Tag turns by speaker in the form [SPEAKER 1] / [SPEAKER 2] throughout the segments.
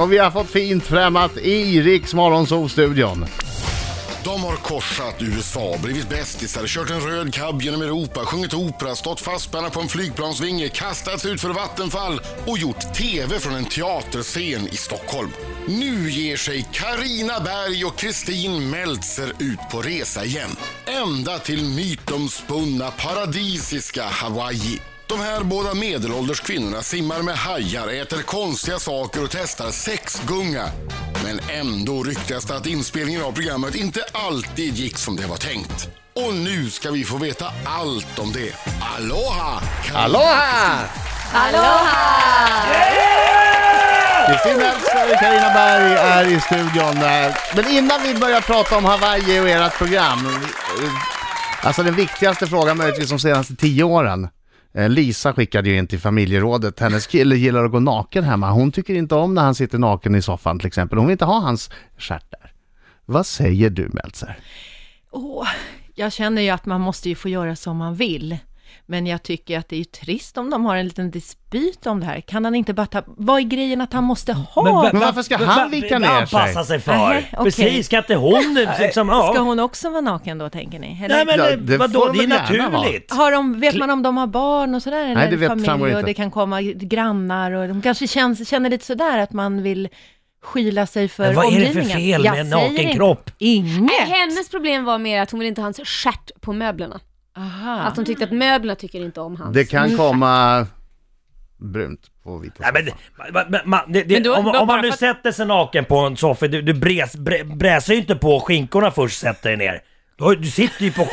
[SPEAKER 1] Och vi har fått fint främmat i Riks Morgonzoo-studion.
[SPEAKER 2] De har korsat USA, blivit bästisar, kört en röd cab genom Europa, sjungit opera, stått fastspända på en flygplansvinge, kastats ut för vattenfall och gjort TV från en teaterscen i Stockholm. Nu ger sig Karina Berg och Kristin Meltzer ut på resa igen. Ända till mytomspunna paradisiska Hawaii. De här båda medelålders kvinnorna simmar med hajar, äter konstiga saker och testar sexgunga. Men ändå ryktas det att inspelningen av programmet inte alltid gick som det var tänkt. Och nu ska vi få veta allt om det. Aloha!
[SPEAKER 1] Aloha! Kristin Meltzer och Carina Berg är i studion. där. Men innan vi börjar prata om Hawaii och ert program. eh, Alltså den viktigaste frågan möjligtvis de senaste tio åren. Eh, Lisa skickade ju in till familjerådet. Hennes kille gillar att gå naken hemma. Hon tycker inte om när han sitter naken i soffan till exempel. Hon vill inte ha hans stjärtar. Vad säger du Meltzer?
[SPEAKER 3] Åh, jag känner ju att man måste ju få göra som man vill. Men jag tycker att det är ju trist om de har en liten dispyt om det här. Kan han inte bara ta... Vad är grejen att han måste ha?
[SPEAKER 1] Men varför ska han vika ner sig?
[SPEAKER 4] Anpassa sig för.
[SPEAKER 3] Nej, okej.
[SPEAKER 4] Precis, ska inte hon nu liksom, ja.
[SPEAKER 3] Ska hon också vara naken då, tänker ni? Eller?
[SPEAKER 4] Nej men
[SPEAKER 1] Ja,
[SPEAKER 4] eh,
[SPEAKER 1] det får
[SPEAKER 4] vadå, det är
[SPEAKER 1] väl gärna vara.
[SPEAKER 4] naturligt.
[SPEAKER 3] Har de, vet man om de har barn och sådär? Eller
[SPEAKER 1] Nej, det vet- framgår
[SPEAKER 3] familj
[SPEAKER 1] inte.
[SPEAKER 3] och det kan komma grannar och de kanske känns, känner lite sådär att man vill skyla sig för
[SPEAKER 4] Men vad är det för
[SPEAKER 3] omgivningen.
[SPEAKER 4] fel
[SPEAKER 3] Jag
[SPEAKER 4] med en
[SPEAKER 3] säger
[SPEAKER 4] naken
[SPEAKER 3] inte-
[SPEAKER 4] kropp?
[SPEAKER 3] Inget!
[SPEAKER 5] Nej, hennes problem var mer att hon ville inte ha hans stjärt på möblerna.
[SPEAKER 3] Aha.
[SPEAKER 5] Att hon tyckte att möblerna tycker inte om hans.
[SPEAKER 1] Det
[SPEAKER 6] Alltså.
[SPEAKER 1] kan komma brunt på vita
[SPEAKER 4] Nej, men,
[SPEAKER 1] soffan.
[SPEAKER 4] ma- ma- ma- det, det,
[SPEAKER 6] Men då-
[SPEAKER 4] om,
[SPEAKER 6] då
[SPEAKER 4] om man
[SPEAKER 6] bara
[SPEAKER 4] nu
[SPEAKER 6] för att-
[SPEAKER 4] sätter sig naken på en soffa, du, du bräs, brä, bräser ju inte på skinkorna först sätter dig ner. Du, du sitter ju på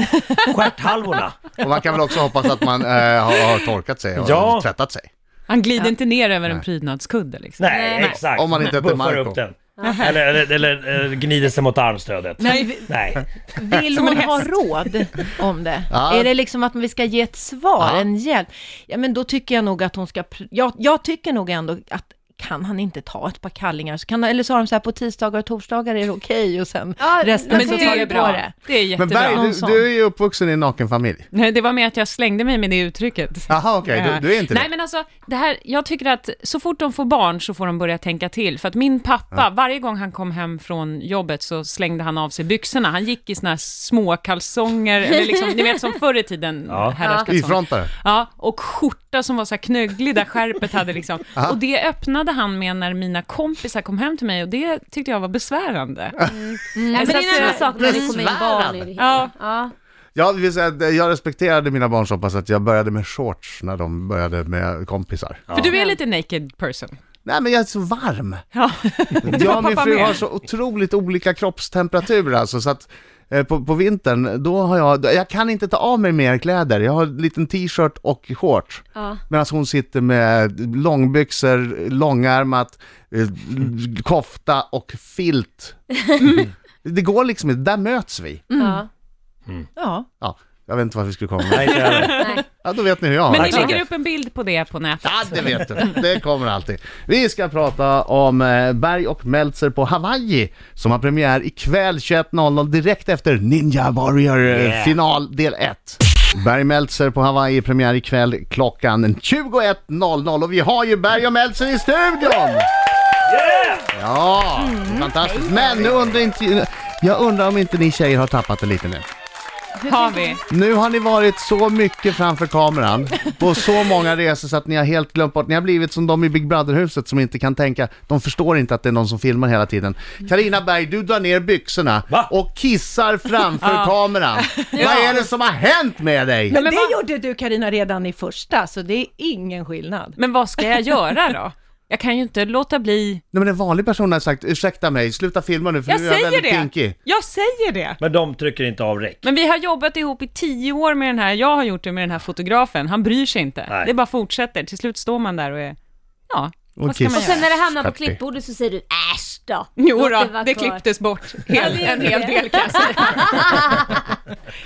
[SPEAKER 4] stjärthalvorna.
[SPEAKER 1] Och man kan väl också hoppas att man eh, har, har torkat sig och
[SPEAKER 4] Ja.
[SPEAKER 1] tvättat sig.
[SPEAKER 6] Han glider inte ner över en prydnadskudde liksom.
[SPEAKER 4] Nej,
[SPEAKER 5] Nej.
[SPEAKER 4] exakt.
[SPEAKER 1] Om man inte heter
[SPEAKER 4] Buffar
[SPEAKER 1] Marco.
[SPEAKER 4] upp den. Eller, eller, eller eh, gnider sig mot armstödet.
[SPEAKER 6] Nej.
[SPEAKER 4] Nej.
[SPEAKER 3] Vill
[SPEAKER 6] Som en
[SPEAKER 3] hon ha
[SPEAKER 6] häst.
[SPEAKER 3] råd om det?
[SPEAKER 1] Ja.
[SPEAKER 3] Är det liksom att vi ska ge ett svar,
[SPEAKER 1] Ja.
[SPEAKER 3] en hjälp? Ja, men då tycker jag nog att hon ska... pr- Jag, jag tycker nog ändå att kan han inte ta ett par kallingar? Så kan, eller så har de så här på tisdagar och torsdagar är det okej och sen
[SPEAKER 5] Ja,
[SPEAKER 3] resten
[SPEAKER 5] men
[SPEAKER 3] så
[SPEAKER 5] det
[SPEAKER 3] tar
[SPEAKER 5] är
[SPEAKER 3] vi
[SPEAKER 5] ju
[SPEAKER 3] på
[SPEAKER 5] bra.
[SPEAKER 3] det.
[SPEAKER 6] Det är
[SPEAKER 1] Men
[SPEAKER 6] jättebra.
[SPEAKER 1] Berg,
[SPEAKER 3] Någon
[SPEAKER 1] du,
[SPEAKER 3] sån.
[SPEAKER 1] du är ju uppvuxen i en naken familj.
[SPEAKER 6] Nej, det var mer att jag slängde mig med det uttrycket.
[SPEAKER 1] Jaha, okej,
[SPEAKER 6] Ja.
[SPEAKER 1] du, du är inte
[SPEAKER 6] Nej
[SPEAKER 1] det.
[SPEAKER 6] men alltså, det här, jag tycker att så fort de får barn så får de börja tänka till. För att min pappa, varje gång han kom hem från jobbet så slängde han av sig byxorna. Han gick i såna här små kalsonger, eller liksom, ni vet som förr i tiden
[SPEAKER 4] Ja.
[SPEAKER 6] herrarskallsonger.
[SPEAKER 1] Ifrontare.
[SPEAKER 6] Ja, och skjorta som var så här knögglig där skärpet hade liksom. Och det öppnade han med när mina kompisar kom hem till mig och det tyckte jag var besvärande.
[SPEAKER 5] Nej, men det
[SPEAKER 6] Så
[SPEAKER 5] är en annan
[SPEAKER 6] att,
[SPEAKER 5] sak när det kommer in barn i det hela.
[SPEAKER 6] Ja.
[SPEAKER 5] Ja.
[SPEAKER 1] Jag, vill säga, att jag respekterade mina barn så pass att jag började med shorts när de började med kompisar.
[SPEAKER 6] För du är lite naked person.
[SPEAKER 1] Nej men jag är så varm.
[SPEAKER 6] Ja.
[SPEAKER 1] Jag och min
[SPEAKER 6] pappa
[SPEAKER 1] fru
[SPEAKER 6] med.
[SPEAKER 1] har så otroligt olika kroppstemperaturer alltså så att eh, på, på vintern, då har jag, jag kan inte ta av mig mer kläder. Jag har en liten t-shirt och shorts.
[SPEAKER 5] Ja.
[SPEAKER 1] Medan hon sitter med långbyxor, långärmat, eh, kofta och filt. Det går liksom inte, där möts vi.
[SPEAKER 5] Ja.
[SPEAKER 3] Ja.
[SPEAKER 1] Ja, jag vet inte varför vi skulle komma med.
[SPEAKER 4] Nej, inte jag heller.
[SPEAKER 1] Ja, då vet ni hur jag har
[SPEAKER 6] Men
[SPEAKER 1] det.
[SPEAKER 6] ni lägger
[SPEAKER 4] Okej.
[SPEAKER 6] upp en bild på det på nätet.
[SPEAKER 1] Ja, det vet du. Det kommer alltid. Vi ska prata om eh, Berg och Meltzer på Hawaii som har premiär ikväll 21.00 direkt efter Ninja Warrior eh,
[SPEAKER 4] Yeah.
[SPEAKER 1] final del 1. Berg Meltzer på Hawaii premiär ikväll klockan 21.00 och vi har ju Berg och Meltzer i studion!
[SPEAKER 4] Yeah!
[SPEAKER 1] Ja, fantastiskt. Men nu undrar inte, jag undrar om inte ni tjejer har tappat det lite nu.
[SPEAKER 6] Har vi.
[SPEAKER 1] Nu har ni varit så mycket framför kameran på så många resor så att ni har helt glömt bort, ni har blivit som de i Big Brother-huset som inte kan tänka, de förstår inte att det är någon som filmar hela tiden. Karina Berg, du drar ner byxorna
[SPEAKER 4] Va?
[SPEAKER 1] och kissar framför kameran. Vad är det som har hänt med dig?
[SPEAKER 3] Men det gjorde du Karina redan i första, så det är ingen skillnad.
[SPEAKER 6] Men vad ska jag göra då? Jag kan ju inte låta bli...
[SPEAKER 1] Nej men en vanlig person har sagt, ursäkta mig, sluta filma nu för
[SPEAKER 6] Jag
[SPEAKER 1] nu är jag
[SPEAKER 6] säger
[SPEAKER 1] väldigt
[SPEAKER 6] det!
[SPEAKER 1] kinky.
[SPEAKER 6] Jag säger det!
[SPEAKER 4] Men de trycker inte av räck.
[SPEAKER 6] Men vi har jobbat ihop i tio år med den här, jag har gjort det med den här fotografen, han bryr sig inte.
[SPEAKER 4] Nej.
[SPEAKER 6] Det bara fortsätter, till slut står man där och är... Ja, vad ska
[SPEAKER 1] kiss.
[SPEAKER 6] man
[SPEAKER 5] Och sen
[SPEAKER 6] göra?
[SPEAKER 5] när det hamnar på
[SPEAKER 1] Fattig.
[SPEAKER 5] klippbordet så säger du äsch då.
[SPEAKER 6] Jo
[SPEAKER 5] Låt
[SPEAKER 6] då,
[SPEAKER 5] vara
[SPEAKER 6] det
[SPEAKER 5] kvar."
[SPEAKER 6] klipptes bort
[SPEAKER 5] Ja,
[SPEAKER 6] hel,
[SPEAKER 5] det är
[SPEAKER 6] en hel
[SPEAKER 5] det.
[SPEAKER 6] del kan jag säga.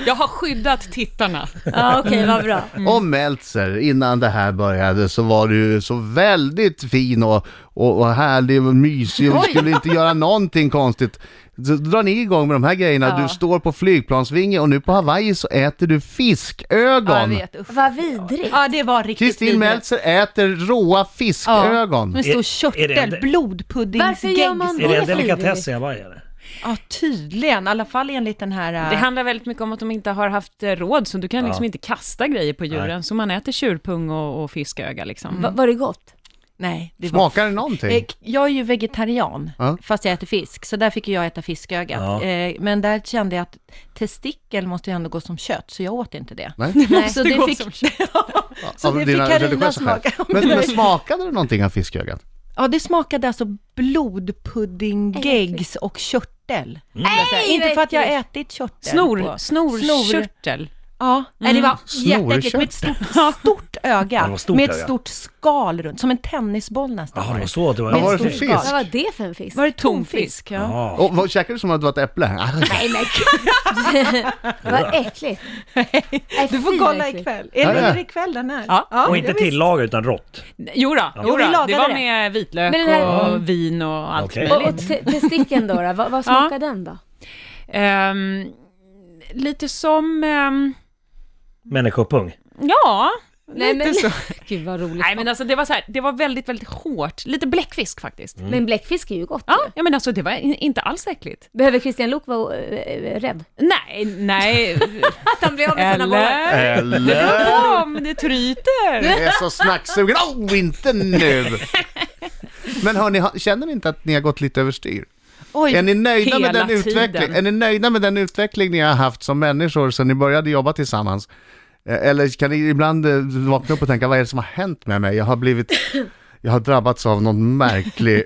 [SPEAKER 6] Jag har skyddat tittarna.
[SPEAKER 5] Ja, okej, vad bra.
[SPEAKER 3] Mm.
[SPEAKER 1] Och Meltzer, innan det här började så var du så väldigt fin och, och, och härlig och mysig och skulle inte göra någonting konstigt. Så drar ni igång med de här grejerna, du står på flygplansvinge och nu på Hawaii så äter du
[SPEAKER 3] Ja, jag
[SPEAKER 1] fiskögon.
[SPEAKER 3] vet. Usch.
[SPEAKER 5] Vad vidrigt.
[SPEAKER 3] Ja, det var riktigt
[SPEAKER 1] Kristin
[SPEAKER 3] vidrigt.
[SPEAKER 1] Meltzer äter råa fiskögon.
[SPEAKER 3] Med
[SPEAKER 4] Är-
[SPEAKER 3] stor
[SPEAKER 4] är det en-
[SPEAKER 3] körtel,
[SPEAKER 5] Varför gör man
[SPEAKER 3] blodpuddingsgegg.
[SPEAKER 4] Är det en
[SPEAKER 5] Det är
[SPEAKER 4] delikatess i Hawaii eller?
[SPEAKER 3] Ja, tydligen. I alla fall enligt den här... äh,
[SPEAKER 6] Det handlar väldigt mycket om att de inte har haft eh, råd, så du kan liksom inte kasta grejer på djuren, så man äter tjurpung och, och fisköga liksom.
[SPEAKER 5] Va- Var det gott?
[SPEAKER 3] Nej, det var
[SPEAKER 1] Smakar det
[SPEAKER 3] Eh,
[SPEAKER 1] någonting?
[SPEAKER 3] k- Jag är ju vegetarian,
[SPEAKER 1] Ja.
[SPEAKER 3] fast jag äter fisk, så där fick ju jag äta fiskögat.
[SPEAKER 4] Ja.
[SPEAKER 3] Eh, Men där kände jag att testikel måste ju ändå gå som kött, så jag åt inte det.
[SPEAKER 1] Nej?
[SPEAKER 5] Nej.
[SPEAKER 3] så det
[SPEAKER 6] gå
[SPEAKER 3] fick,
[SPEAKER 6] som
[SPEAKER 3] så det fick
[SPEAKER 1] dina
[SPEAKER 3] Carina
[SPEAKER 1] religiösa skäl.
[SPEAKER 3] smaka.
[SPEAKER 1] Men, men smakade det någonting av fiskögat?
[SPEAKER 3] Ja, det smakade alltså blodpuddinggeggs och körtel. skulle jag säga.
[SPEAKER 5] Nej,
[SPEAKER 3] inte för att jag har
[SPEAKER 5] verkligen.
[SPEAKER 3] ätit körtel.
[SPEAKER 6] Snor,
[SPEAKER 3] på-
[SPEAKER 6] snorkörtel.
[SPEAKER 3] Ja, nej, det var
[SPEAKER 1] Snorkörtel.
[SPEAKER 3] jätteäckligt. Med ett stort, stort
[SPEAKER 4] det
[SPEAKER 3] öga.
[SPEAKER 4] var stort
[SPEAKER 3] med ett
[SPEAKER 4] öga.
[SPEAKER 3] stort skal runt, som en tennisboll nästan.
[SPEAKER 4] Jaha,
[SPEAKER 3] var
[SPEAKER 4] det
[SPEAKER 3] det.
[SPEAKER 4] var så att det
[SPEAKER 1] Vad var
[SPEAKER 4] var.
[SPEAKER 1] det för
[SPEAKER 3] Stor
[SPEAKER 1] fisk?
[SPEAKER 3] smak.
[SPEAKER 5] Vad var det för en fisk?
[SPEAKER 3] Var det tonfisk? Ja.
[SPEAKER 4] Ja.
[SPEAKER 1] Och, vad, käkade du som att det var ett äpple?
[SPEAKER 5] Nej men Vad äckligt. Nej,
[SPEAKER 3] Du får
[SPEAKER 5] fy,
[SPEAKER 3] kolla
[SPEAKER 5] vad äckligt.
[SPEAKER 3] ikväll. Är
[SPEAKER 1] Ja, ja.
[SPEAKER 3] det är ikväll den här?
[SPEAKER 6] Ja,
[SPEAKER 4] Och inte
[SPEAKER 3] jag visste.
[SPEAKER 4] tilllaga utan rått.
[SPEAKER 6] Jodå,
[SPEAKER 3] Jo, vi
[SPEAKER 6] jodå.
[SPEAKER 3] lagade
[SPEAKER 6] det var
[SPEAKER 3] det.
[SPEAKER 6] med vitlök
[SPEAKER 5] Men den här- Mm.
[SPEAKER 6] och vin och allt
[SPEAKER 4] Okej.
[SPEAKER 5] Och,
[SPEAKER 6] möjligt.
[SPEAKER 5] och te- testikeln då, då? Vad, vad smakar
[SPEAKER 6] Ja.
[SPEAKER 5] den då?
[SPEAKER 6] Ehm, lite som... ehm,
[SPEAKER 4] Människopung.
[SPEAKER 6] ja,
[SPEAKER 5] Nej,
[SPEAKER 6] lite
[SPEAKER 5] men-
[SPEAKER 6] så.
[SPEAKER 5] Gud vad roligt.
[SPEAKER 6] Nej men alltså det var så här, det var väldigt, väldigt hårt. Lite bläckfisk faktiskt.
[SPEAKER 1] Mm.
[SPEAKER 5] Men bläckfisk är ju gott
[SPEAKER 6] Ja,
[SPEAKER 5] ju.
[SPEAKER 6] ja men alltså det var in, inte alls äckligt.
[SPEAKER 5] Behöver Christian Lok vara eh, eh, rädd?
[SPEAKER 6] Nej, nej.
[SPEAKER 5] Att han blir av med sina bollar?
[SPEAKER 6] Eller?
[SPEAKER 1] Eller?
[SPEAKER 6] Kom, det tryter.
[SPEAKER 1] Jag är så snacksugen. Åh, inte nu! Men hörni, ha- känner ni inte att ni har gått lite överstyr?
[SPEAKER 3] Oj,
[SPEAKER 1] Är ni nöjda med
[SPEAKER 6] hela
[SPEAKER 1] den utveckling?
[SPEAKER 6] tiden.
[SPEAKER 1] Är ni nöjda med den utveckling ni har haft som människor sedan ni började jobba tillsammans? Eh, Eller kan ni ibland eh, vakna upp och tänka, vad är det som har hänt med mig? Jag har blivit, jag har drabbats av någon märklig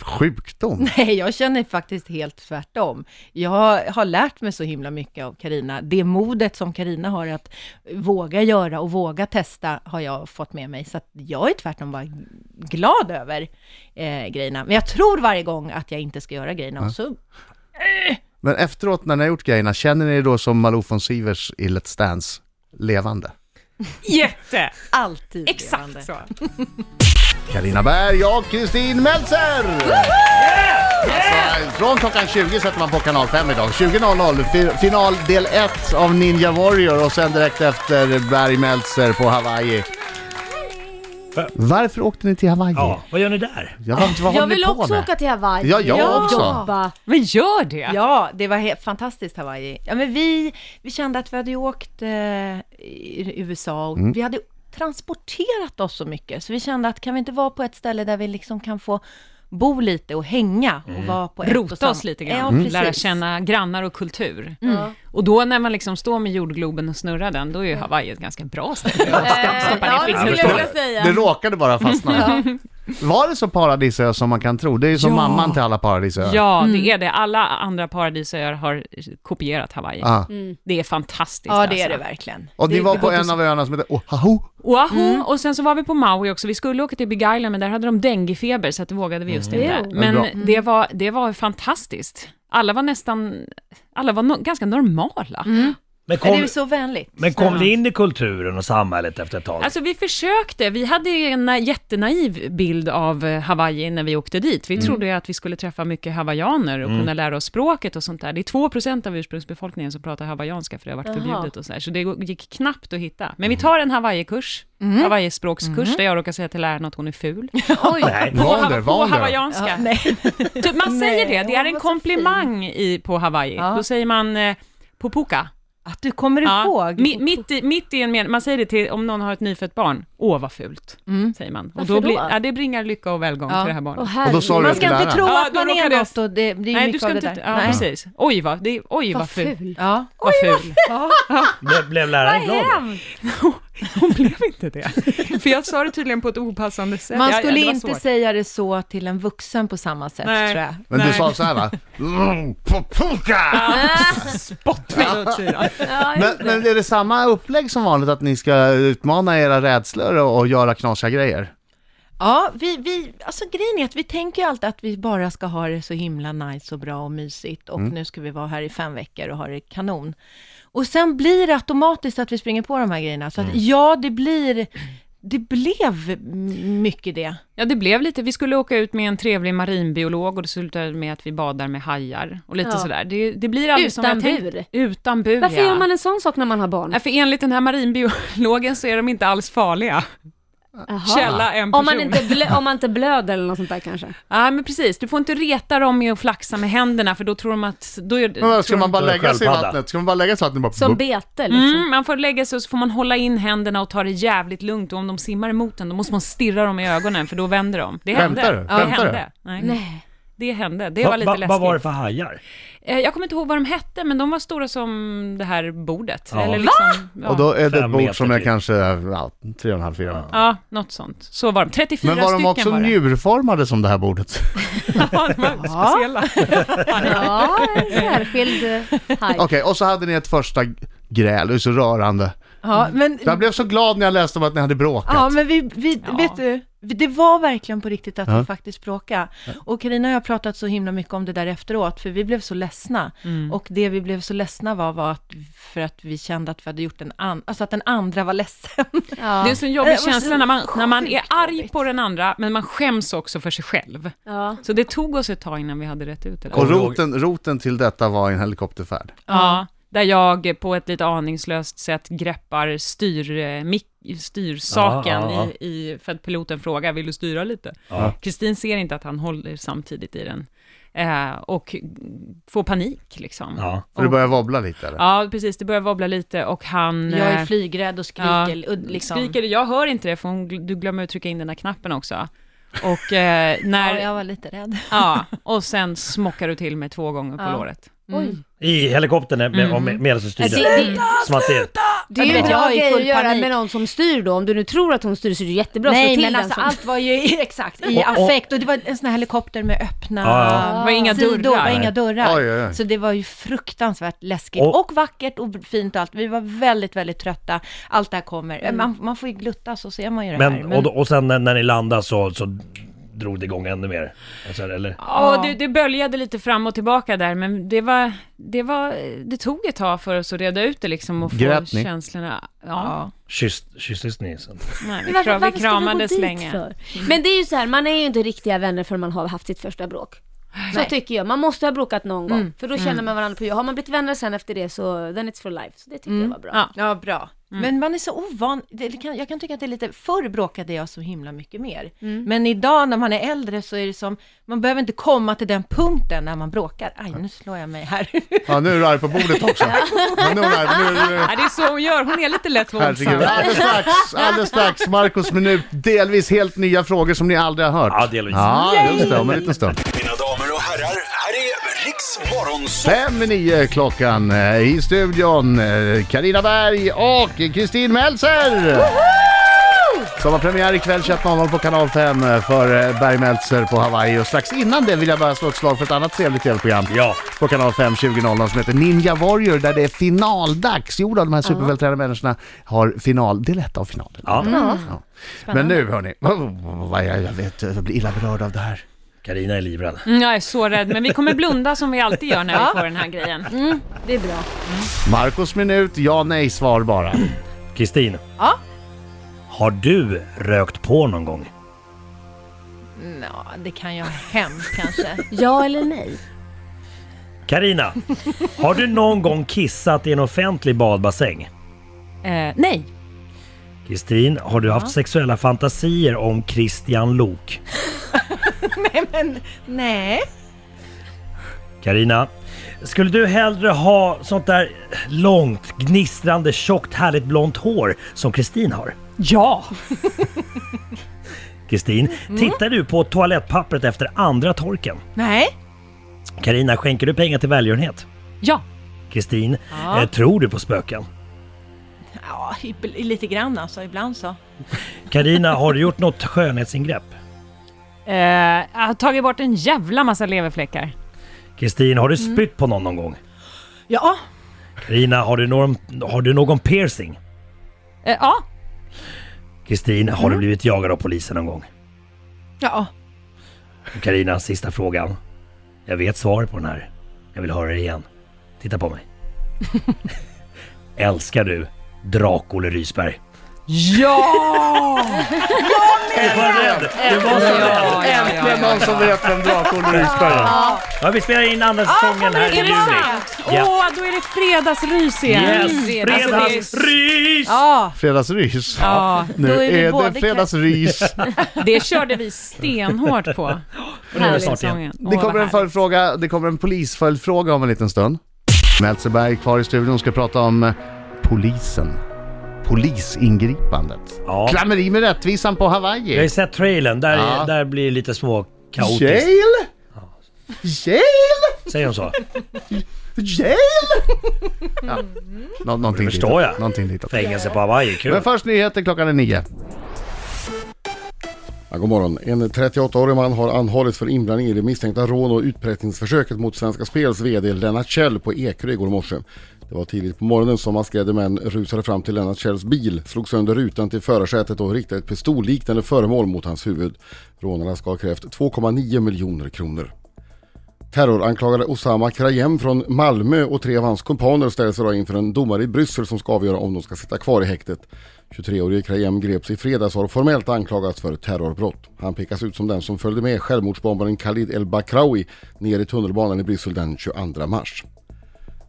[SPEAKER 1] sjukdom.
[SPEAKER 3] Nej, jag känner faktiskt helt tvärtom. Jag har lärt mig så himla mycket av Karina. Det modet som Karina har att våga göra och våga testa har jag fått med mig. Så att jag är tvärtom bara glad över eh, grejerna. Men jag tror varje gång att jag inte ska göra grejerna. Och så,
[SPEAKER 1] Men efteråt när ni har gjort grejerna, känner ni er då som Malou von Sivers i Let's Dance levande?
[SPEAKER 6] Jätte.
[SPEAKER 3] alltid levande.
[SPEAKER 6] Exakt så.
[SPEAKER 1] Carina Berg och Kristin Meltzer! Alltså, från klockan 20 sätter man på kanal 5 idag. 20.00, fi- final del 1 av Ninja Warrior och sen direkt efter Berg Meltzer på Hawaii.
[SPEAKER 4] Va?
[SPEAKER 1] Varför åkte ni till Hawaii?
[SPEAKER 4] Ja, vad gör ni där?
[SPEAKER 1] Jag, vad, vad
[SPEAKER 5] Jag
[SPEAKER 1] håller ni
[SPEAKER 5] vill
[SPEAKER 1] på
[SPEAKER 5] också
[SPEAKER 1] med?
[SPEAKER 5] åka till Hawaii.
[SPEAKER 1] Ja, jag
[SPEAKER 5] Och
[SPEAKER 1] också.
[SPEAKER 5] Jobba.
[SPEAKER 6] Men gör det.
[SPEAKER 3] Ja, det var helt fantastiskt Hawaii. Ja, men vi, vi kände att vi hade ju åkt eh, i USA och vi hade transporterat oss så mycket. Så vi kände att kan vi inte vara på ett ställe där vi liksom kan få bo lite och hänga och vara på ett och
[SPEAKER 6] Rota
[SPEAKER 3] samma-
[SPEAKER 6] oss lite
[SPEAKER 3] Ja,
[SPEAKER 6] grann,
[SPEAKER 3] precis.
[SPEAKER 6] Mm.
[SPEAKER 3] Mm.
[SPEAKER 6] lära känna grannar och kultur.
[SPEAKER 5] Ja.
[SPEAKER 6] Och då när man liksom står med jordgloben och snurrar den, då är ju Hawaii ett ganska bra
[SPEAKER 5] Eh,
[SPEAKER 6] ställe.
[SPEAKER 5] Ja, det skulle jag vilja
[SPEAKER 1] Det
[SPEAKER 5] säga.
[SPEAKER 1] råkade bara fastna. Var det så paradisös som man kan tro? Det är ju som mamman till alla paradisöar.
[SPEAKER 6] Ja,
[SPEAKER 3] Mm.
[SPEAKER 6] det är det. Alla andra paradisöar har kopierat Hawaii.
[SPEAKER 1] Ah.
[SPEAKER 6] Det är fantastiskt.
[SPEAKER 3] Mm. Ja, det är det
[SPEAKER 6] alltså.
[SPEAKER 3] verkligen.
[SPEAKER 1] Och ni
[SPEAKER 3] Det-
[SPEAKER 1] var på en av öarna som heter Oahu.
[SPEAKER 6] Oahu,
[SPEAKER 3] Mm.
[SPEAKER 6] och sen så var vi på Maui också. Vi skulle åka till Big Island, men där hade de denguefeber, så att det vågade vi just inte.
[SPEAKER 5] Jo.
[SPEAKER 1] Men
[SPEAKER 6] Men
[SPEAKER 1] Mm. bra.
[SPEAKER 6] det var, det var fantastiskt. Alla var nästan, alla var no- ganska normala.
[SPEAKER 4] Men
[SPEAKER 3] Men det är
[SPEAKER 4] kom,
[SPEAKER 3] ju så vänligt.
[SPEAKER 4] men kom ni in i kulturen och samhället efter ett tag?
[SPEAKER 6] Alltså vi försökte, vi hade ju en na- jättenaiv bild av eh, Hawaii när vi åkte dit. Vi trodde ju att vi skulle träffa mycket hawaiianer och kunna lära oss språket och sånt där. Det är 2% av ursprungsbefolkningen som pratar hawaiianska för det har varit
[SPEAKER 5] Jaha.
[SPEAKER 6] förbjudet och så där. Så det g- gick knappt att hitta. Men vi tar en hawaiikurs, hawaiispråkskurs, där jag råkar säga till läraren att hon är ful.
[SPEAKER 1] Nej,
[SPEAKER 6] På,
[SPEAKER 1] var det?
[SPEAKER 6] hava- på
[SPEAKER 1] Var det?
[SPEAKER 6] hawaiianska.
[SPEAKER 3] Ja, nej.
[SPEAKER 6] Typ, man säger
[SPEAKER 5] Nej,
[SPEAKER 6] det, det är
[SPEAKER 5] hon
[SPEAKER 6] en
[SPEAKER 5] var så
[SPEAKER 6] komplimang i, på Hawaii.
[SPEAKER 3] Ja.
[SPEAKER 6] Då säger man eh, Pupuka.
[SPEAKER 3] Att du kommer ihåg.
[SPEAKER 6] Mi, mitt, i, mitt i en mening, man säger det till om någon har ett nyfött barn. Åh vad fult, säger man. Och
[SPEAKER 5] Varför
[SPEAKER 6] då blir,
[SPEAKER 5] då?
[SPEAKER 6] ja, det bringar lycka och välgång
[SPEAKER 3] Mm. Ja.
[SPEAKER 6] till det här
[SPEAKER 5] Åh,
[SPEAKER 6] barnet.
[SPEAKER 1] Och då
[SPEAKER 5] herregud.
[SPEAKER 1] sa du
[SPEAKER 3] Man
[SPEAKER 1] till
[SPEAKER 3] ska inte
[SPEAKER 1] läraren.
[SPEAKER 3] tro
[SPEAKER 6] Ja,
[SPEAKER 3] att
[SPEAKER 6] då
[SPEAKER 3] man är
[SPEAKER 6] råkar det-
[SPEAKER 3] något och det, det är ju
[SPEAKER 6] Nej, du
[SPEAKER 3] mycket
[SPEAKER 6] ska
[SPEAKER 3] av det
[SPEAKER 6] inte...
[SPEAKER 3] där.
[SPEAKER 6] Ja,
[SPEAKER 3] Nej.
[SPEAKER 6] precis. Oj vad, det, oj vad,
[SPEAKER 5] Vad
[SPEAKER 6] ful.
[SPEAKER 5] ful.
[SPEAKER 3] Ja.
[SPEAKER 6] Vad ful.
[SPEAKER 3] Ja.
[SPEAKER 4] Blev, blev läraren glad? då?
[SPEAKER 6] Hon blev inte det. För jag sa det tydligen på ett opassande sätt.
[SPEAKER 3] Man
[SPEAKER 6] Ja, ja,
[SPEAKER 3] skulle
[SPEAKER 6] det var
[SPEAKER 3] inte
[SPEAKER 6] svårt.
[SPEAKER 3] säga det så till en vuxen på samma sätt,
[SPEAKER 6] Nej.
[SPEAKER 3] tror jag.
[SPEAKER 1] Men du
[SPEAKER 6] Nej.
[SPEAKER 1] sa så här va? Mm, pupuka!
[SPEAKER 6] Spott mig åt sidan.
[SPEAKER 5] Ja,
[SPEAKER 1] Men,
[SPEAKER 5] just det.
[SPEAKER 1] men är det samma upplägg som vanligt att ni ska utmana era rädslor och, och göra knasiga grejer?
[SPEAKER 3] Ja, vi, vi, alltså grejen är att vi tänker ju alltid att vi bara ska ha det så himla nice och bra och mysigt och nu ska vi vara här i fem veckor och ha det kanon. Och sen blir det automatiskt att vi springer på de här grejerna. Så att ja, det blir, det blev m- mycket det.
[SPEAKER 6] Ja, det blev lite, vi skulle åka ut med en trevlig marinbiolog och det slutade med att vi badar med hajar och lite
[SPEAKER 5] Ja.
[SPEAKER 6] sådär. Det, det blir aldrig som
[SPEAKER 5] Utan
[SPEAKER 6] jag tänkt-
[SPEAKER 5] bur.
[SPEAKER 6] Utan bur,
[SPEAKER 5] Varför
[SPEAKER 6] ja.
[SPEAKER 5] gör man en sån sak när man har barn?
[SPEAKER 6] Nej, för enligt den här marinbiologen så är de inte alls farliga.
[SPEAKER 5] Jaha.
[SPEAKER 6] Källa en person.
[SPEAKER 5] Om man, inte blö, om man inte blöder eller något sånt där kanske.
[SPEAKER 6] Ja, men precis. Du får inte reta dem med att flaxa med händerna, för då tror de att... Då är,
[SPEAKER 1] Men vad, ska man bara
[SPEAKER 4] Eller
[SPEAKER 1] lägga sig i
[SPEAKER 4] sköldpadda.
[SPEAKER 1] vattnet? Ska man bara lägga sig i vattnet? och Bara,
[SPEAKER 5] Som
[SPEAKER 1] bup?
[SPEAKER 5] bete liksom.
[SPEAKER 6] Mm, man får lägga sig och så får man hålla in händerna och ta det jävligt lugnt. Och om de simmar emot en, då måste man stirra dem i ögonen, för då vänder de. Det hände.
[SPEAKER 1] Skämtar du?
[SPEAKER 6] Ja,
[SPEAKER 1] Skämtar
[SPEAKER 6] det
[SPEAKER 1] du?
[SPEAKER 6] hände. Nej.
[SPEAKER 5] Nej.
[SPEAKER 6] Det hände. Det
[SPEAKER 4] Va-
[SPEAKER 6] var lite
[SPEAKER 4] va-
[SPEAKER 6] läskigt.
[SPEAKER 4] Vad var det för hajar?
[SPEAKER 6] Eh, Jag kommer inte ihåg vad de hette, men de var stora som det här bordet.
[SPEAKER 4] Ja.
[SPEAKER 6] Eller liksom, ja.
[SPEAKER 1] Och då är det
[SPEAKER 4] Fem
[SPEAKER 1] ett bord
[SPEAKER 4] meter
[SPEAKER 1] som är
[SPEAKER 4] typ.
[SPEAKER 1] kanske ja, 3,5-4 meter.
[SPEAKER 6] Ja, något sånt. Så var de. 34
[SPEAKER 1] Men var de
[SPEAKER 6] stycken
[SPEAKER 1] också
[SPEAKER 6] var det.
[SPEAKER 1] njurformade som det här bordet?
[SPEAKER 6] Ja, de var speciella.
[SPEAKER 5] Ja, en särskild eh, haj.
[SPEAKER 1] Okej, och så hade ni ett första gräl, det är så rörande.
[SPEAKER 3] Ja, men,
[SPEAKER 1] Jag blev så glad när jag läste om att ni hade bråkat.
[SPEAKER 3] ja, men vi, vi
[SPEAKER 6] Ja.
[SPEAKER 3] vet du, det var verkligen på riktigt att
[SPEAKER 1] Ja.
[SPEAKER 3] vi faktiskt bråkade. Och Karina och jag har pratat så himla mycket om det där efteråt, för vi blev så ledsna.
[SPEAKER 6] Mm.
[SPEAKER 3] Och det vi blev så ledsna var, var att, för att vi kände att vi hade gjort en an, alltså att den andra var ledsen.
[SPEAKER 5] Ja.
[SPEAKER 6] Det är en sån
[SPEAKER 3] Det
[SPEAKER 6] jobbig
[SPEAKER 3] var
[SPEAKER 6] känsla
[SPEAKER 3] så
[SPEAKER 6] när man, när man är
[SPEAKER 3] sjukt
[SPEAKER 6] arg
[SPEAKER 3] jobbigt.
[SPEAKER 6] på den andra, men man skäms också för sig själv.
[SPEAKER 5] Ja.
[SPEAKER 6] Så det tog oss ett tag innan vi hade rätt ut det där.
[SPEAKER 1] Och roten, roten till detta var en helikopterfärd.
[SPEAKER 6] Ja, där jag på ett lite aningslöst sätt greppar styr, eh, mic- styrsaken
[SPEAKER 4] Ja, ja, ja.
[SPEAKER 6] I, i, för att piloten frågar, vill du styra lite?
[SPEAKER 4] Ja.
[SPEAKER 6] Kristin ser inte att han håller samtidigt i den eh, och får panik liksom. Ja.
[SPEAKER 4] Ja.
[SPEAKER 1] För det började wobbla lite eller?
[SPEAKER 6] precis, det börjar wobbla lite och han...
[SPEAKER 3] Jag
[SPEAKER 6] eh,
[SPEAKER 3] är flygrädd och skriker.
[SPEAKER 6] ja,
[SPEAKER 3] och liksom.
[SPEAKER 6] skriker, jag hör inte det för hon, gl- du glömmer att trycka in den här knappen också. Och eh, när...
[SPEAKER 3] Ja, jag var lite rädd.
[SPEAKER 6] Ja, och sen smockar du till mig två gånger på
[SPEAKER 3] Ja.
[SPEAKER 6] låret.
[SPEAKER 5] Oj.
[SPEAKER 4] I helikoptern med,
[SPEAKER 6] Mm.
[SPEAKER 4] med, med, medan du styr
[SPEAKER 6] Alltså,
[SPEAKER 5] Det,
[SPEAKER 4] den.
[SPEAKER 5] det,
[SPEAKER 4] Som att det,
[SPEAKER 5] det är ju
[SPEAKER 3] Ja,
[SPEAKER 5] en
[SPEAKER 3] men
[SPEAKER 5] bra
[SPEAKER 3] jag är i
[SPEAKER 5] grej
[SPEAKER 3] full
[SPEAKER 5] att göra
[SPEAKER 3] panik.
[SPEAKER 5] med någon som styr då. Om du nu tror att hon styr så är det jättebra att slå
[SPEAKER 3] Nej,
[SPEAKER 5] till
[SPEAKER 3] men
[SPEAKER 5] den
[SPEAKER 3] alltså
[SPEAKER 5] som...
[SPEAKER 3] allt var ju exakt i
[SPEAKER 4] Och- och-
[SPEAKER 3] affekt och det var en sån här helikopter med öppna
[SPEAKER 4] Ja, ja.
[SPEAKER 6] Det var inga
[SPEAKER 3] sidor, det var
[SPEAKER 6] dörrar.
[SPEAKER 3] inga dörrar.
[SPEAKER 1] Oj, oj, oj.
[SPEAKER 3] Så det var ju fruktansvärt läskigt
[SPEAKER 4] Och-
[SPEAKER 3] och, vackert och fint och allt. Vi var väldigt, väldigt trötta. Allt det här kommer. Man, man får ju glutta så ser man ju det här.
[SPEAKER 4] men, och, då- och sen när, när ni landade så, så drog det igång ännu mer? Alltså, eller?
[SPEAKER 6] Ja, det, det böljade lite fram och tillbaka där, men det var, det var, det tog ett tag för oss att reda ut det liksom och få
[SPEAKER 1] Grät ni?
[SPEAKER 6] känslorna. Ja,
[SPEAKER 3] ja.
[SPEAKER 4] Kyss, kysstes ni sen?
[SPEAKER 6] Nej, vi,
[SPEAKER 5] Men varför-
[SPEAKER 6] kram, vi Mm.
[SPEAKER 5] varför ska
[SPEAKER 6] kramades
[SPEAKER 5] gå dit
[SPEAKER 6] länge.
[SPEAKER 5] för? Men det är ju så här, man är ju inte riktiga vänner förrän man har haft sitt första bråk. Så
[SPEAKER 3] Nej.
[SPEAKER 5] tycker jag, man måste ha bråkat någon
[SPEAKER 6] Mm.
[SPEAKER 5] gång. För då känner man varandra på jul. Har man blivit vänner sen efter det så, then it's for life. Så det tycker jag var bra.
[SPEAKER 6] Mm. Ja.
[SPEAKER 3] ja, bra. Mm. Men man är så ovan. Det kan, jag kan tycka att det är lite, förr bråkade jag så himla mycket mer. Men idag när man är äldre så är det som, man behöver inte komma till den punkten när man bråkar. Aj, nu slår jag mig här.
[SPEAKER 1] Ja, nu är du arg på bordet också. Ja, nu är du arg, nu, nu,
[SPEAKER 6] Ja, det är så hon gör, hon är lite lätt våldsam.
[SPEAKER 1] herregud. Alldeles strax, alldeles strax, Marcos minut. Delvis helt nya frågor som ni aldrig har hört.
[SPEAKER 4] Ja, delvis.
[SPEAKER 1] Ja, just det, om en liten stund.
[SPEAKER 7] Mina damer och herrar, här är Riks Morgonzoo!
[SPEAKER 1] Fem i nio klockan eh, i studion. eh, Carina Berg och Kristin Meltzer! Som har premiär ikväll 21.00 på kanal 5 eh, för eh, Berg Meltzer på Hawaii. Och strax innan det vill jag bara slå ett slag för ett annat trevligt tv-program.
[SPEAKER 4] Ja.
[SPEAKER 1] På kanal 5 20.00 som heter Ninja Warrior där det är finaldags. Jo då, de här supervältränade människorna har final. Det är lätt av finalen.
[SPEAKER 4] Ja.
[SPEAKER 1] Ja. Men nu hörni, oh, vad jag jag vet, jag blir illa berörd av det här.
[SPEAKER 4] Karina är livrädd.
[SPEAKER 6] Mm, Jag är så rädd, men vi kommer blunda som vi alltid gör när vi får den här grejen.
[SPEAKER 5] Det är bra.
[SPEAKER 1] Marcos minut, ja nej svar bara.
[SPEAKER 4] Kristin?
[SPEAKER 3] Ja?
[SPEAKER 4] Har du rökt på någon gång?
[SPEAKER 3] Nå, det kan jag hem kanske.
[SPEAKER 5] Ja eller nej?
[SPEAKER 4] Karina, har du någon gång kissat i en offentlig badbassäng?
[SPEAKER 6] Eh, nej.
[SPEAKER 4] Kristin, har du haft sexuella fantasier om Christian Lok?
[SPEAKER 3] Nej, men nej.
[SPEAKER 4] Karina, skulle du hellre ha sånt där långt, gnistrande, tjockt, härligt blont hår som Kristin har?
[SPEAKER 6] Ja.
[SPEAKER 4] Kristin, tittar du på toalettpappret efter andra torken?
[SPEAKER 3] Nej.
[SPEAKER 4] Karina, skänker du pengar till välgörenhet?
[SPEAKER 6] Ja.
[SPEAKER 4] Kristin,
[SPEAKER 3] Ja.
[SPEAKER 4] eh, tror du på spöken?
[SPEAKER 3] Ja, ib- lite grann alltså, ibland så.
[SPEAKER 4] Karina, har du gjort något skönhetsingrepp?
[SPEAKER 6] Eh, jag har tagit bort en jävla massa leverfläckar.
[SPEAKER 4] Kristin, har du spytt på någon någon gång?
[SPEAKER 3] Ja.
[SPEAKER 4] Karina, har du någon, har du någon piercing?
[SPEAKER 6] Eh, ja.
[SPEAKER 4] Kristin, har du blivit jagad av polisen någon gång?
[SPEAKER 3] Ja,
[SPEAKER 4] Och Carina, sista frågan. Jag vet svaret på den här. Jag vill höra det igen. Titta på mig. Älskar du Drak-Olle Rysberg? Ja! Jag var rädd! Du var så
[SPEAKER 6] Ja,
[SPEAKER 4] rädd!
[SPEAKER 6] ja, ja,
[SPEAKER 1] Äntligen någon som vet vem Drak-Olle Rysberg är.
[SPEAKER 4] Ja, vi spelar in andra säsongen här i
[SPEAKER 6] Är
[SPEAKER 4] juni.
[SPEAKER 6] det sant? Åh, då är det fredagsrys igen.
[SPEAKER 4] Yes!
[SPEAKER 6] Alltså, det är-
[SPEAKER 4] Fredagsrys!
[SPEAKER 3] ja.
[SPEAKER 1] Fredagsrys.
[SPEAKER 6] Ja,
[SPEAKER 1] Nu
[SPEAKER 3] då är vi
[SPEAKER 1] är det
[SPEAKER 3] både-
[SPEAKER 1] fredagsrys.
[SPEAKER 6] det körde vi stenhårt på.
[SPEAKER 4] Nu är det snart igen.
[SPEAKER 1] Det kommer en följdfråga, det kommer en polisföljdfråga om en liten stund. Meltzeberg kvar i studion ska prata om eh, polisen. Polisingripandet.
[SPEAKER 4] Ja.
[SPEAKER 1] Klammeri med rättvisan på
[SPEAKER 4] Jag har ju
[SPEAKER 1] Hawaii.
[SPEAKER 4] sett trailern, där,
[SPEAKER 1] Ja.
[SPEAKER 4] där blir det lite små kaotiskt.
[SPEAKER 1] Jail! Jail!
[SPEAKER 4] Säger hon så?
[SPEAKER 1] Jail! Ja. Nå- någonting
[SPEAKER 4] Det förstår
[SPEAKER 1] ditåt.
[SPEAKER 4] jag.
[SPEAKER 1] Någonting ditåt.
[SPEAKER 4] Fängelse på Hawaii, kul.
[SPEAKER 1] Men först nyheter klockan är nio.
[SPEAKER 2] Ja, god morgon. En 38-årig man har anhållits för inblandning i det misstänkta rån och utpressningsförsöket mot Svenska Spels VD Lennart Kjell på Ekerö igår morse. Det var tidigt på morgonen som maskerade män rusade fram till Lennart Kjells bil, slog sönder rutan till förarsätet och riktade ett pistolliknande föremål mot hans huvud. Rånarna ska ha krävt 2,9 miljoner kronor. Terroranklagade Osama Krajem från Malmö och tre av hans kumpaner ställs idag inför en domare i Bryssel som ska avgöra om de ska sitta kvar i häktet. 23-årige Krajem greps i fredags och har formellt anklagats för terrorbrott. Han pekas ut som den som följde med självmordsbombaren Khalid El-Bakraoui ner i tunnelbanan i Bryssel den 22 mars.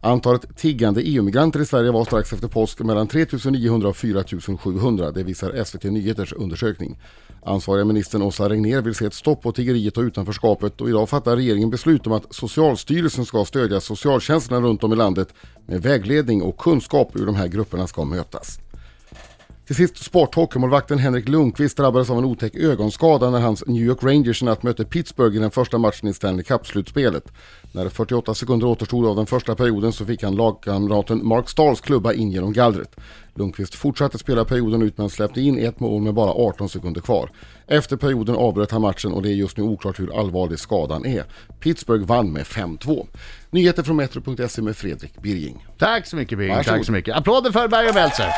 [SPEAKER 2] Antalet tiggande EU-migranter i Sverige var strax efter påsk mellan 3 900 och 4 700. Det visar SVT Nyheters undersökning. Ansvariga ministern Åsa Regnér vill se ett stopp på tiggeriet och utanförskapet och idag fattar regeringen beslut om att Socialstyrelsen ska stödja socialtjänsterna runt om i landet med vägledning och kunskap hur de här grupperna ska mötas. Till sist sporthockeymålvakten Henrik Lundqvist drabbades av en otäck ögonskada när hans New York Rangers i natt mötte Pittsburgh i den första matchen i Stanley Cup-slutspelet. När 48 sekunder återstod av den första perioden så fick han lagkamraten Mark Stars klubba in genom gallret. Lundqvist fortsatte spela perioden ut men släppte in ett mål med bara 18 sekunder kvar. Efter perioden avbröt han matchen och det är just nu oklart hur allvarlig skadan är. Pittsburgh vann med 5-2. Nyheter från Metro.se med Fredrik Birging.
[SPEAKER 1] Tack så mycket Birgit,
[SPEAKER 2] Varsågod.
[SPEAKER 1] tack så mycket. Applåder för Berg och Meltzer.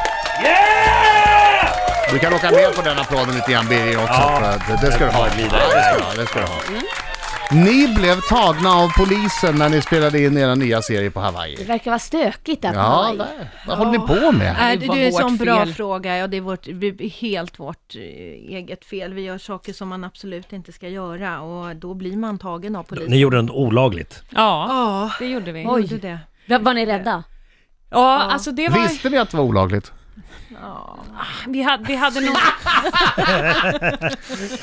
[SPEAKER 4] Yeah!
[SPEAKER 1] Du kan åka med på den applåden lite grann Birger också.
[SPEAKER 4] Ja,
[SPEAKER 1] för att det, det ska du ha.
[SPEAKER 4] bara
[SPEAKER 1] Ja,
[SPEAKER 4] glida
[SPEAKER 1] det ska du ha. Det ska du ha.
[SPEAKER 6] Mm.
[SPEAKER 1] Ni blev tagna av polisen när ni spelade in era nya serie på
[SPEAKER 5] Det
[SPEAKER 1] Hawaii.
[SPEAKER 5] verkar vara stökigt där på
[SPEAKER 1] Ja,
[SPEAKER 5] Hawaij.
[SPEAKER 1] där. vad håller ni på med?
[SPEAKER 3] Nej,
[SPEAKER 6] det
[SPEAKER 3] det,
[SPEAKER 6] var
[SPEAKER 3] det är en
[SPEAKER 6] vårt
[SPEAKER 3] sån bra
[SPEAKER 6] fel.
[SPEAKER 3] fråga. Ja, det är vårt, vi- helt vårt eh, eget fel. Vi gör saker som man absolut inte ska göra och då blir man tagen av polisen.
[SPEAKER 4] Ni gjorde något olagligt.
[SPEAKER 6] Ja,
[SPEAKER 3] Ja,
[SPEAKER 4] Ah.
[SPEAKER 6] det gjorde vi.
[SPEAKER 3] oj. Gjorde det.
[SPEAKER 5] Var- Var ni rädda?
[SPEAKER 6] Ja, alltså det var...
[SPEAKER 1] Visste ni att det var olagligt?
[SPEAKER 6] Vi hade, vi hade nog...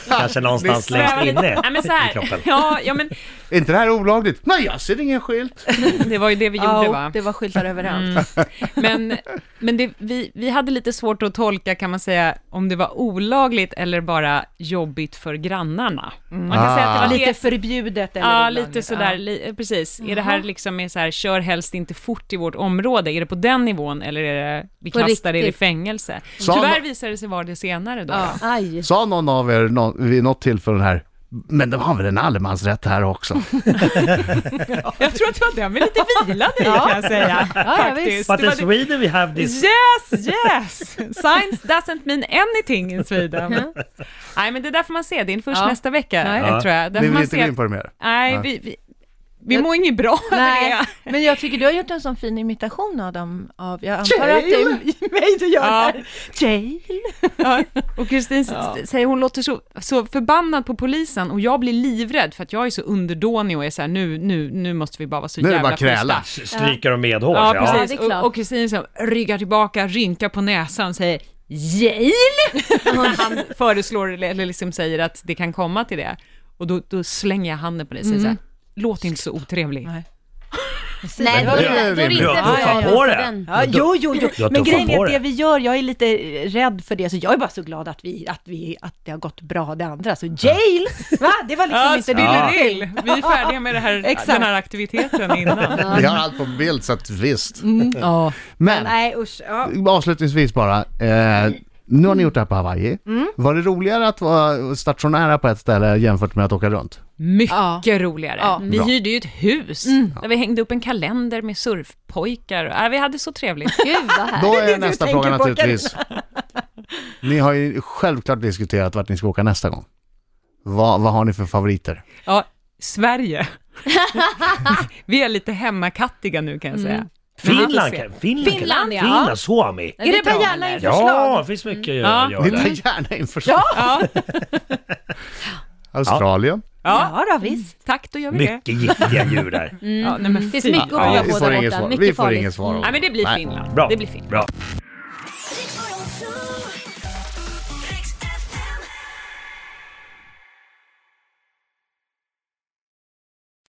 [SPEAKER 4] Kanske någonstans längst inne
[SPEAKER 6] Nej, men så
[SPEAKER 4] i
[SPEAKER 6] här.
[SPEAKER 4] kroppen.
[SPEAKER 6] Ja, ja, men
[SPEAKER 1] Är inte det här olagligt? Nej, jag ser ingen skylt.
[SPEAKER 6] det var ju det vi
[SPEAKER 3] Ja,
[SPEAKER 6] gjorde,
[SPEAKER 3] och
[SPEAKER 6] va? Mm.
[SPEAKER 3] det var skyltar överallt.
[SPEAKER 6] Men, men det, vi, vi hade lite svårt att tolka, kan man säga, om det var olagligt eller bara jobbigt för grannarna. Mm. Man kan säga
[SPEAKER 1] Ah.
[SPEAKER 6] att det var
[SPEAKER 3] Lite
[SPEAKER 6] det
[SPEAKER 3] förbjudet eller
[SPEAKER 6] Ja,
[SPEAKER 3] olagligt.
[SPEAKER 6] lite sådär, li, eh, precis. Är det här liksom är så här, kör helst inte fort i vårt område, är det på den nivån eller är det, vi
[SPEAKER 5] På
[SPEAKER 6] kastar er i
[SPEAKER 5] riktigt.
[SPEAKER 6] fängelse?
[SPEAKER 1] Sa
[SPEAKER 6] Tyvärr
[SPEAKER 1] no-
[SPEAKER 6] visade det sig vara det senare då.
[SPEAKER 3] Ja.
[SPEAKER 5] Aj.
[SPEAKER 1] Sa någon av er nå- vid något tillfälle här, men det var väl en allemansrätt här också?
[SPEAKER 6] Jag tror att det var den vi lite vilade i kan jag säga. faktiskt.
[SPEAKER 4] But
[SPEAKER 6] Det
[SPEAKER 4] in
[SPEAKER 6] var det-
[SPEAKER 4] Sweden we have this...
[SPEAKER 6] Yes, yes! Science doesn't mean anything in Sweden. Nej, men det där får man se. Det är först
[SPEAKER 3] Ja.
[SPEAKER 6] nästa vecka,
[SPEAKER 3] Nej.
[SPEAKER 6] tror jag.
[SPEAKER 1] Ni
[SPEAKER 6] Där får
[SPEAKER 1] vill
[SPEAKER 6] man
[SPEAKER 1] inte gå
[SPEAKER 6] se.
[SPEAKER 1] in på det mer?
[SPEAKER 6] Nej, vi, vi, vi mår inget bra över
[SPEAKER 3] Nej,
[SPEAKER 6] det.
[SPEAKER 3] men jag tycker du har gjort en sån fin imitation av dem. Av, jag antar att det är mig du gör
[SPEAKER 6] Ja.
[SPEAKER 3] här. Jail.
[SPEAKER 6] Ja. Och Kristin s- s- säger hon låter så, så förbannad på polisen och jag blir livrädd för att jag är så underdånig och är så här nu, nu, nu måste vi bara vara så
[SPEAKER 1] Nu är det
[SPEAKER 6] jävla
[SPEAKER 1] bara att kräla.
[SPEAKER 6] schyssta.
[SPEAKER 4] Stryker och medhårs,
[SPEAKER 6] Ja,
[SPEAKER 5] Ja,
[SPEAKER 6] precis.
[SPEAKER 5] det är klart.
[SPEAKER 6] och och Kristin liksom ryggar tillbaka, rynkar på näsan och säger Jail! När han föreslår, eller eller liksom säger att det kan komma till det. Och då, då slänger jag handen på dig och säger
[SPEAKER 5] Mm.
[SPEAKER 6] så här, låt inte så otrevlig.
[SPEAKER 3] Nej.
[SPEAKER 5] Nej, då
[SPEAKER 1] det är
[SPEAKER 5] är det
[SPEAKER 1] rimligt.
[SPEAKER 5] inte
[SPEAKER 4] Du har tuffat
[SPEAKER 5] bra.
[SPEAKER 4] på det.
[SPEAKER 5] Den.
[SPEAKER 3] Ja, jo, jo, jo.
[SPEAKER 4] Jag
[SPEAKER 3] Men
[SPEAKER 4] tuffar
[SPEAKER 3] grejen är
[SPEAKER 4] på
[SPEAKER 3] att det
[SPEAKER 4] det.
[SPEAKER 3] vi gör, jag är lite eh, rädd för det, så jag är bara så glad att, vi, att, vi, att det har gått bra det andra. Så jail, va? Det var liksom
[SPEAKER 6] Ja,
[SPEAKER 3] inte
[SPEAKER 6] spill
[SPEAKER 3] det.
[SPEAKER 6] it ill. Vi är färdiga med det här,
[SPEAKER 3] Exakt.
[SPEAKER 6] den här aktiviteten innan.
[SPEAKER 1] Vi har allt på bild så att visst.
[SPEAKER 6] Ja.
[SPEAKER 1] Men,
[SPEAKER 3] Mm. Nej, usch. Ja.
[SPEAKER 1] avslutningsvis bara. Eh, nu har ni gjort det här på Hawaii.
[SPEAKER 3] Mm.
[SPEAKER 1] Var det roligare att vara stationära på ett ställe jämfört med att åka runt?
[SPEAKER 6] Mycket roligare.
[SPEAKER 3] Ja. Mm.
[SPEAKER 6] Vi
[SPEAKER 1] Bra.
[SPEAKER 6] hyrde ju ett hus där vi hängde upp en kalender med surfpojkar. Äh, vi hade så trevligt.
[SPEAKER 5] Gud vad härligt.
[SPEAKER 1] Då är
[SPEAKER 3] det du
[SPEAKER 1] nästa
[SPEAKER 3] tänker
[SPEAKER 1] fråga
[SPEAKER 3] på,
[SPEAKER 1] naturligtvis. Ni har ju självklart diskuterat vart ni ska åka nästa gång. Vad, vad har ni för favoriter?
[SPEAKER 6] Ja, Sverige. Vi är lite hemmakattiga nu kan jag
[SPEAKER 3] Mm.
[SPEAKER 6] säga.
[SPEAKER 4] Finland kan Finland, kan-
[SPEAKER 5] Finland, ja.
[SPEAKER 4] Finland, Suomi.
[SPEAKER 5] Är det bara gärna
[SPEAKER 3] eller?
[SPEAKER 4] Ja, det finns mycket att göra
[SPEAKER 6] Mm. Ja.
[SPEAKER 4] ja.
[SPEAKER 1] Dina
[SPEAKER 4] där.
[SPEAKER 1] gärna inför ja.
[SPEAKER 6] Ja,
[SPEAKER 1] Australien.
[SPEAKER 6] ja.
[SPEAKER 3] Ja, då, visst. Mm.
[SPEAKER 6] tack då gör vi det.
[SPEAKER 4] Mycket giftiga djur där.
[SPEAKER 6] Ja, nej, men
[SPEAKER 5] Det finns
[SPEAKER 6] fy.
[SPEAKER 5] mycket att
[SPEAKER 6] Ja,
[SPEAKER 5] hålla
[SPEAKER 1] vi
[SPEAKER 5] på
[SPEAKER 1] får
[SPEAKER 5] där
[SPEAKER 1] inget
[SPEAKER 5] borta.
[SPEAKER 1] svar.
[SPEAKER 5] Mycket
[SPEAKER 1] Vi får
[SPEAKER 5] farligt.
[SPEAKER 1] inget svar.
[SPEAKER 6] Nej men det blir
[SPEAKER 1] Nej.
[SPEAKER 6] Finland.
[SPEAKER 4] Bra.
[SPEAKER 6] Det blir Finland.
[SPEAKER 4] Bra.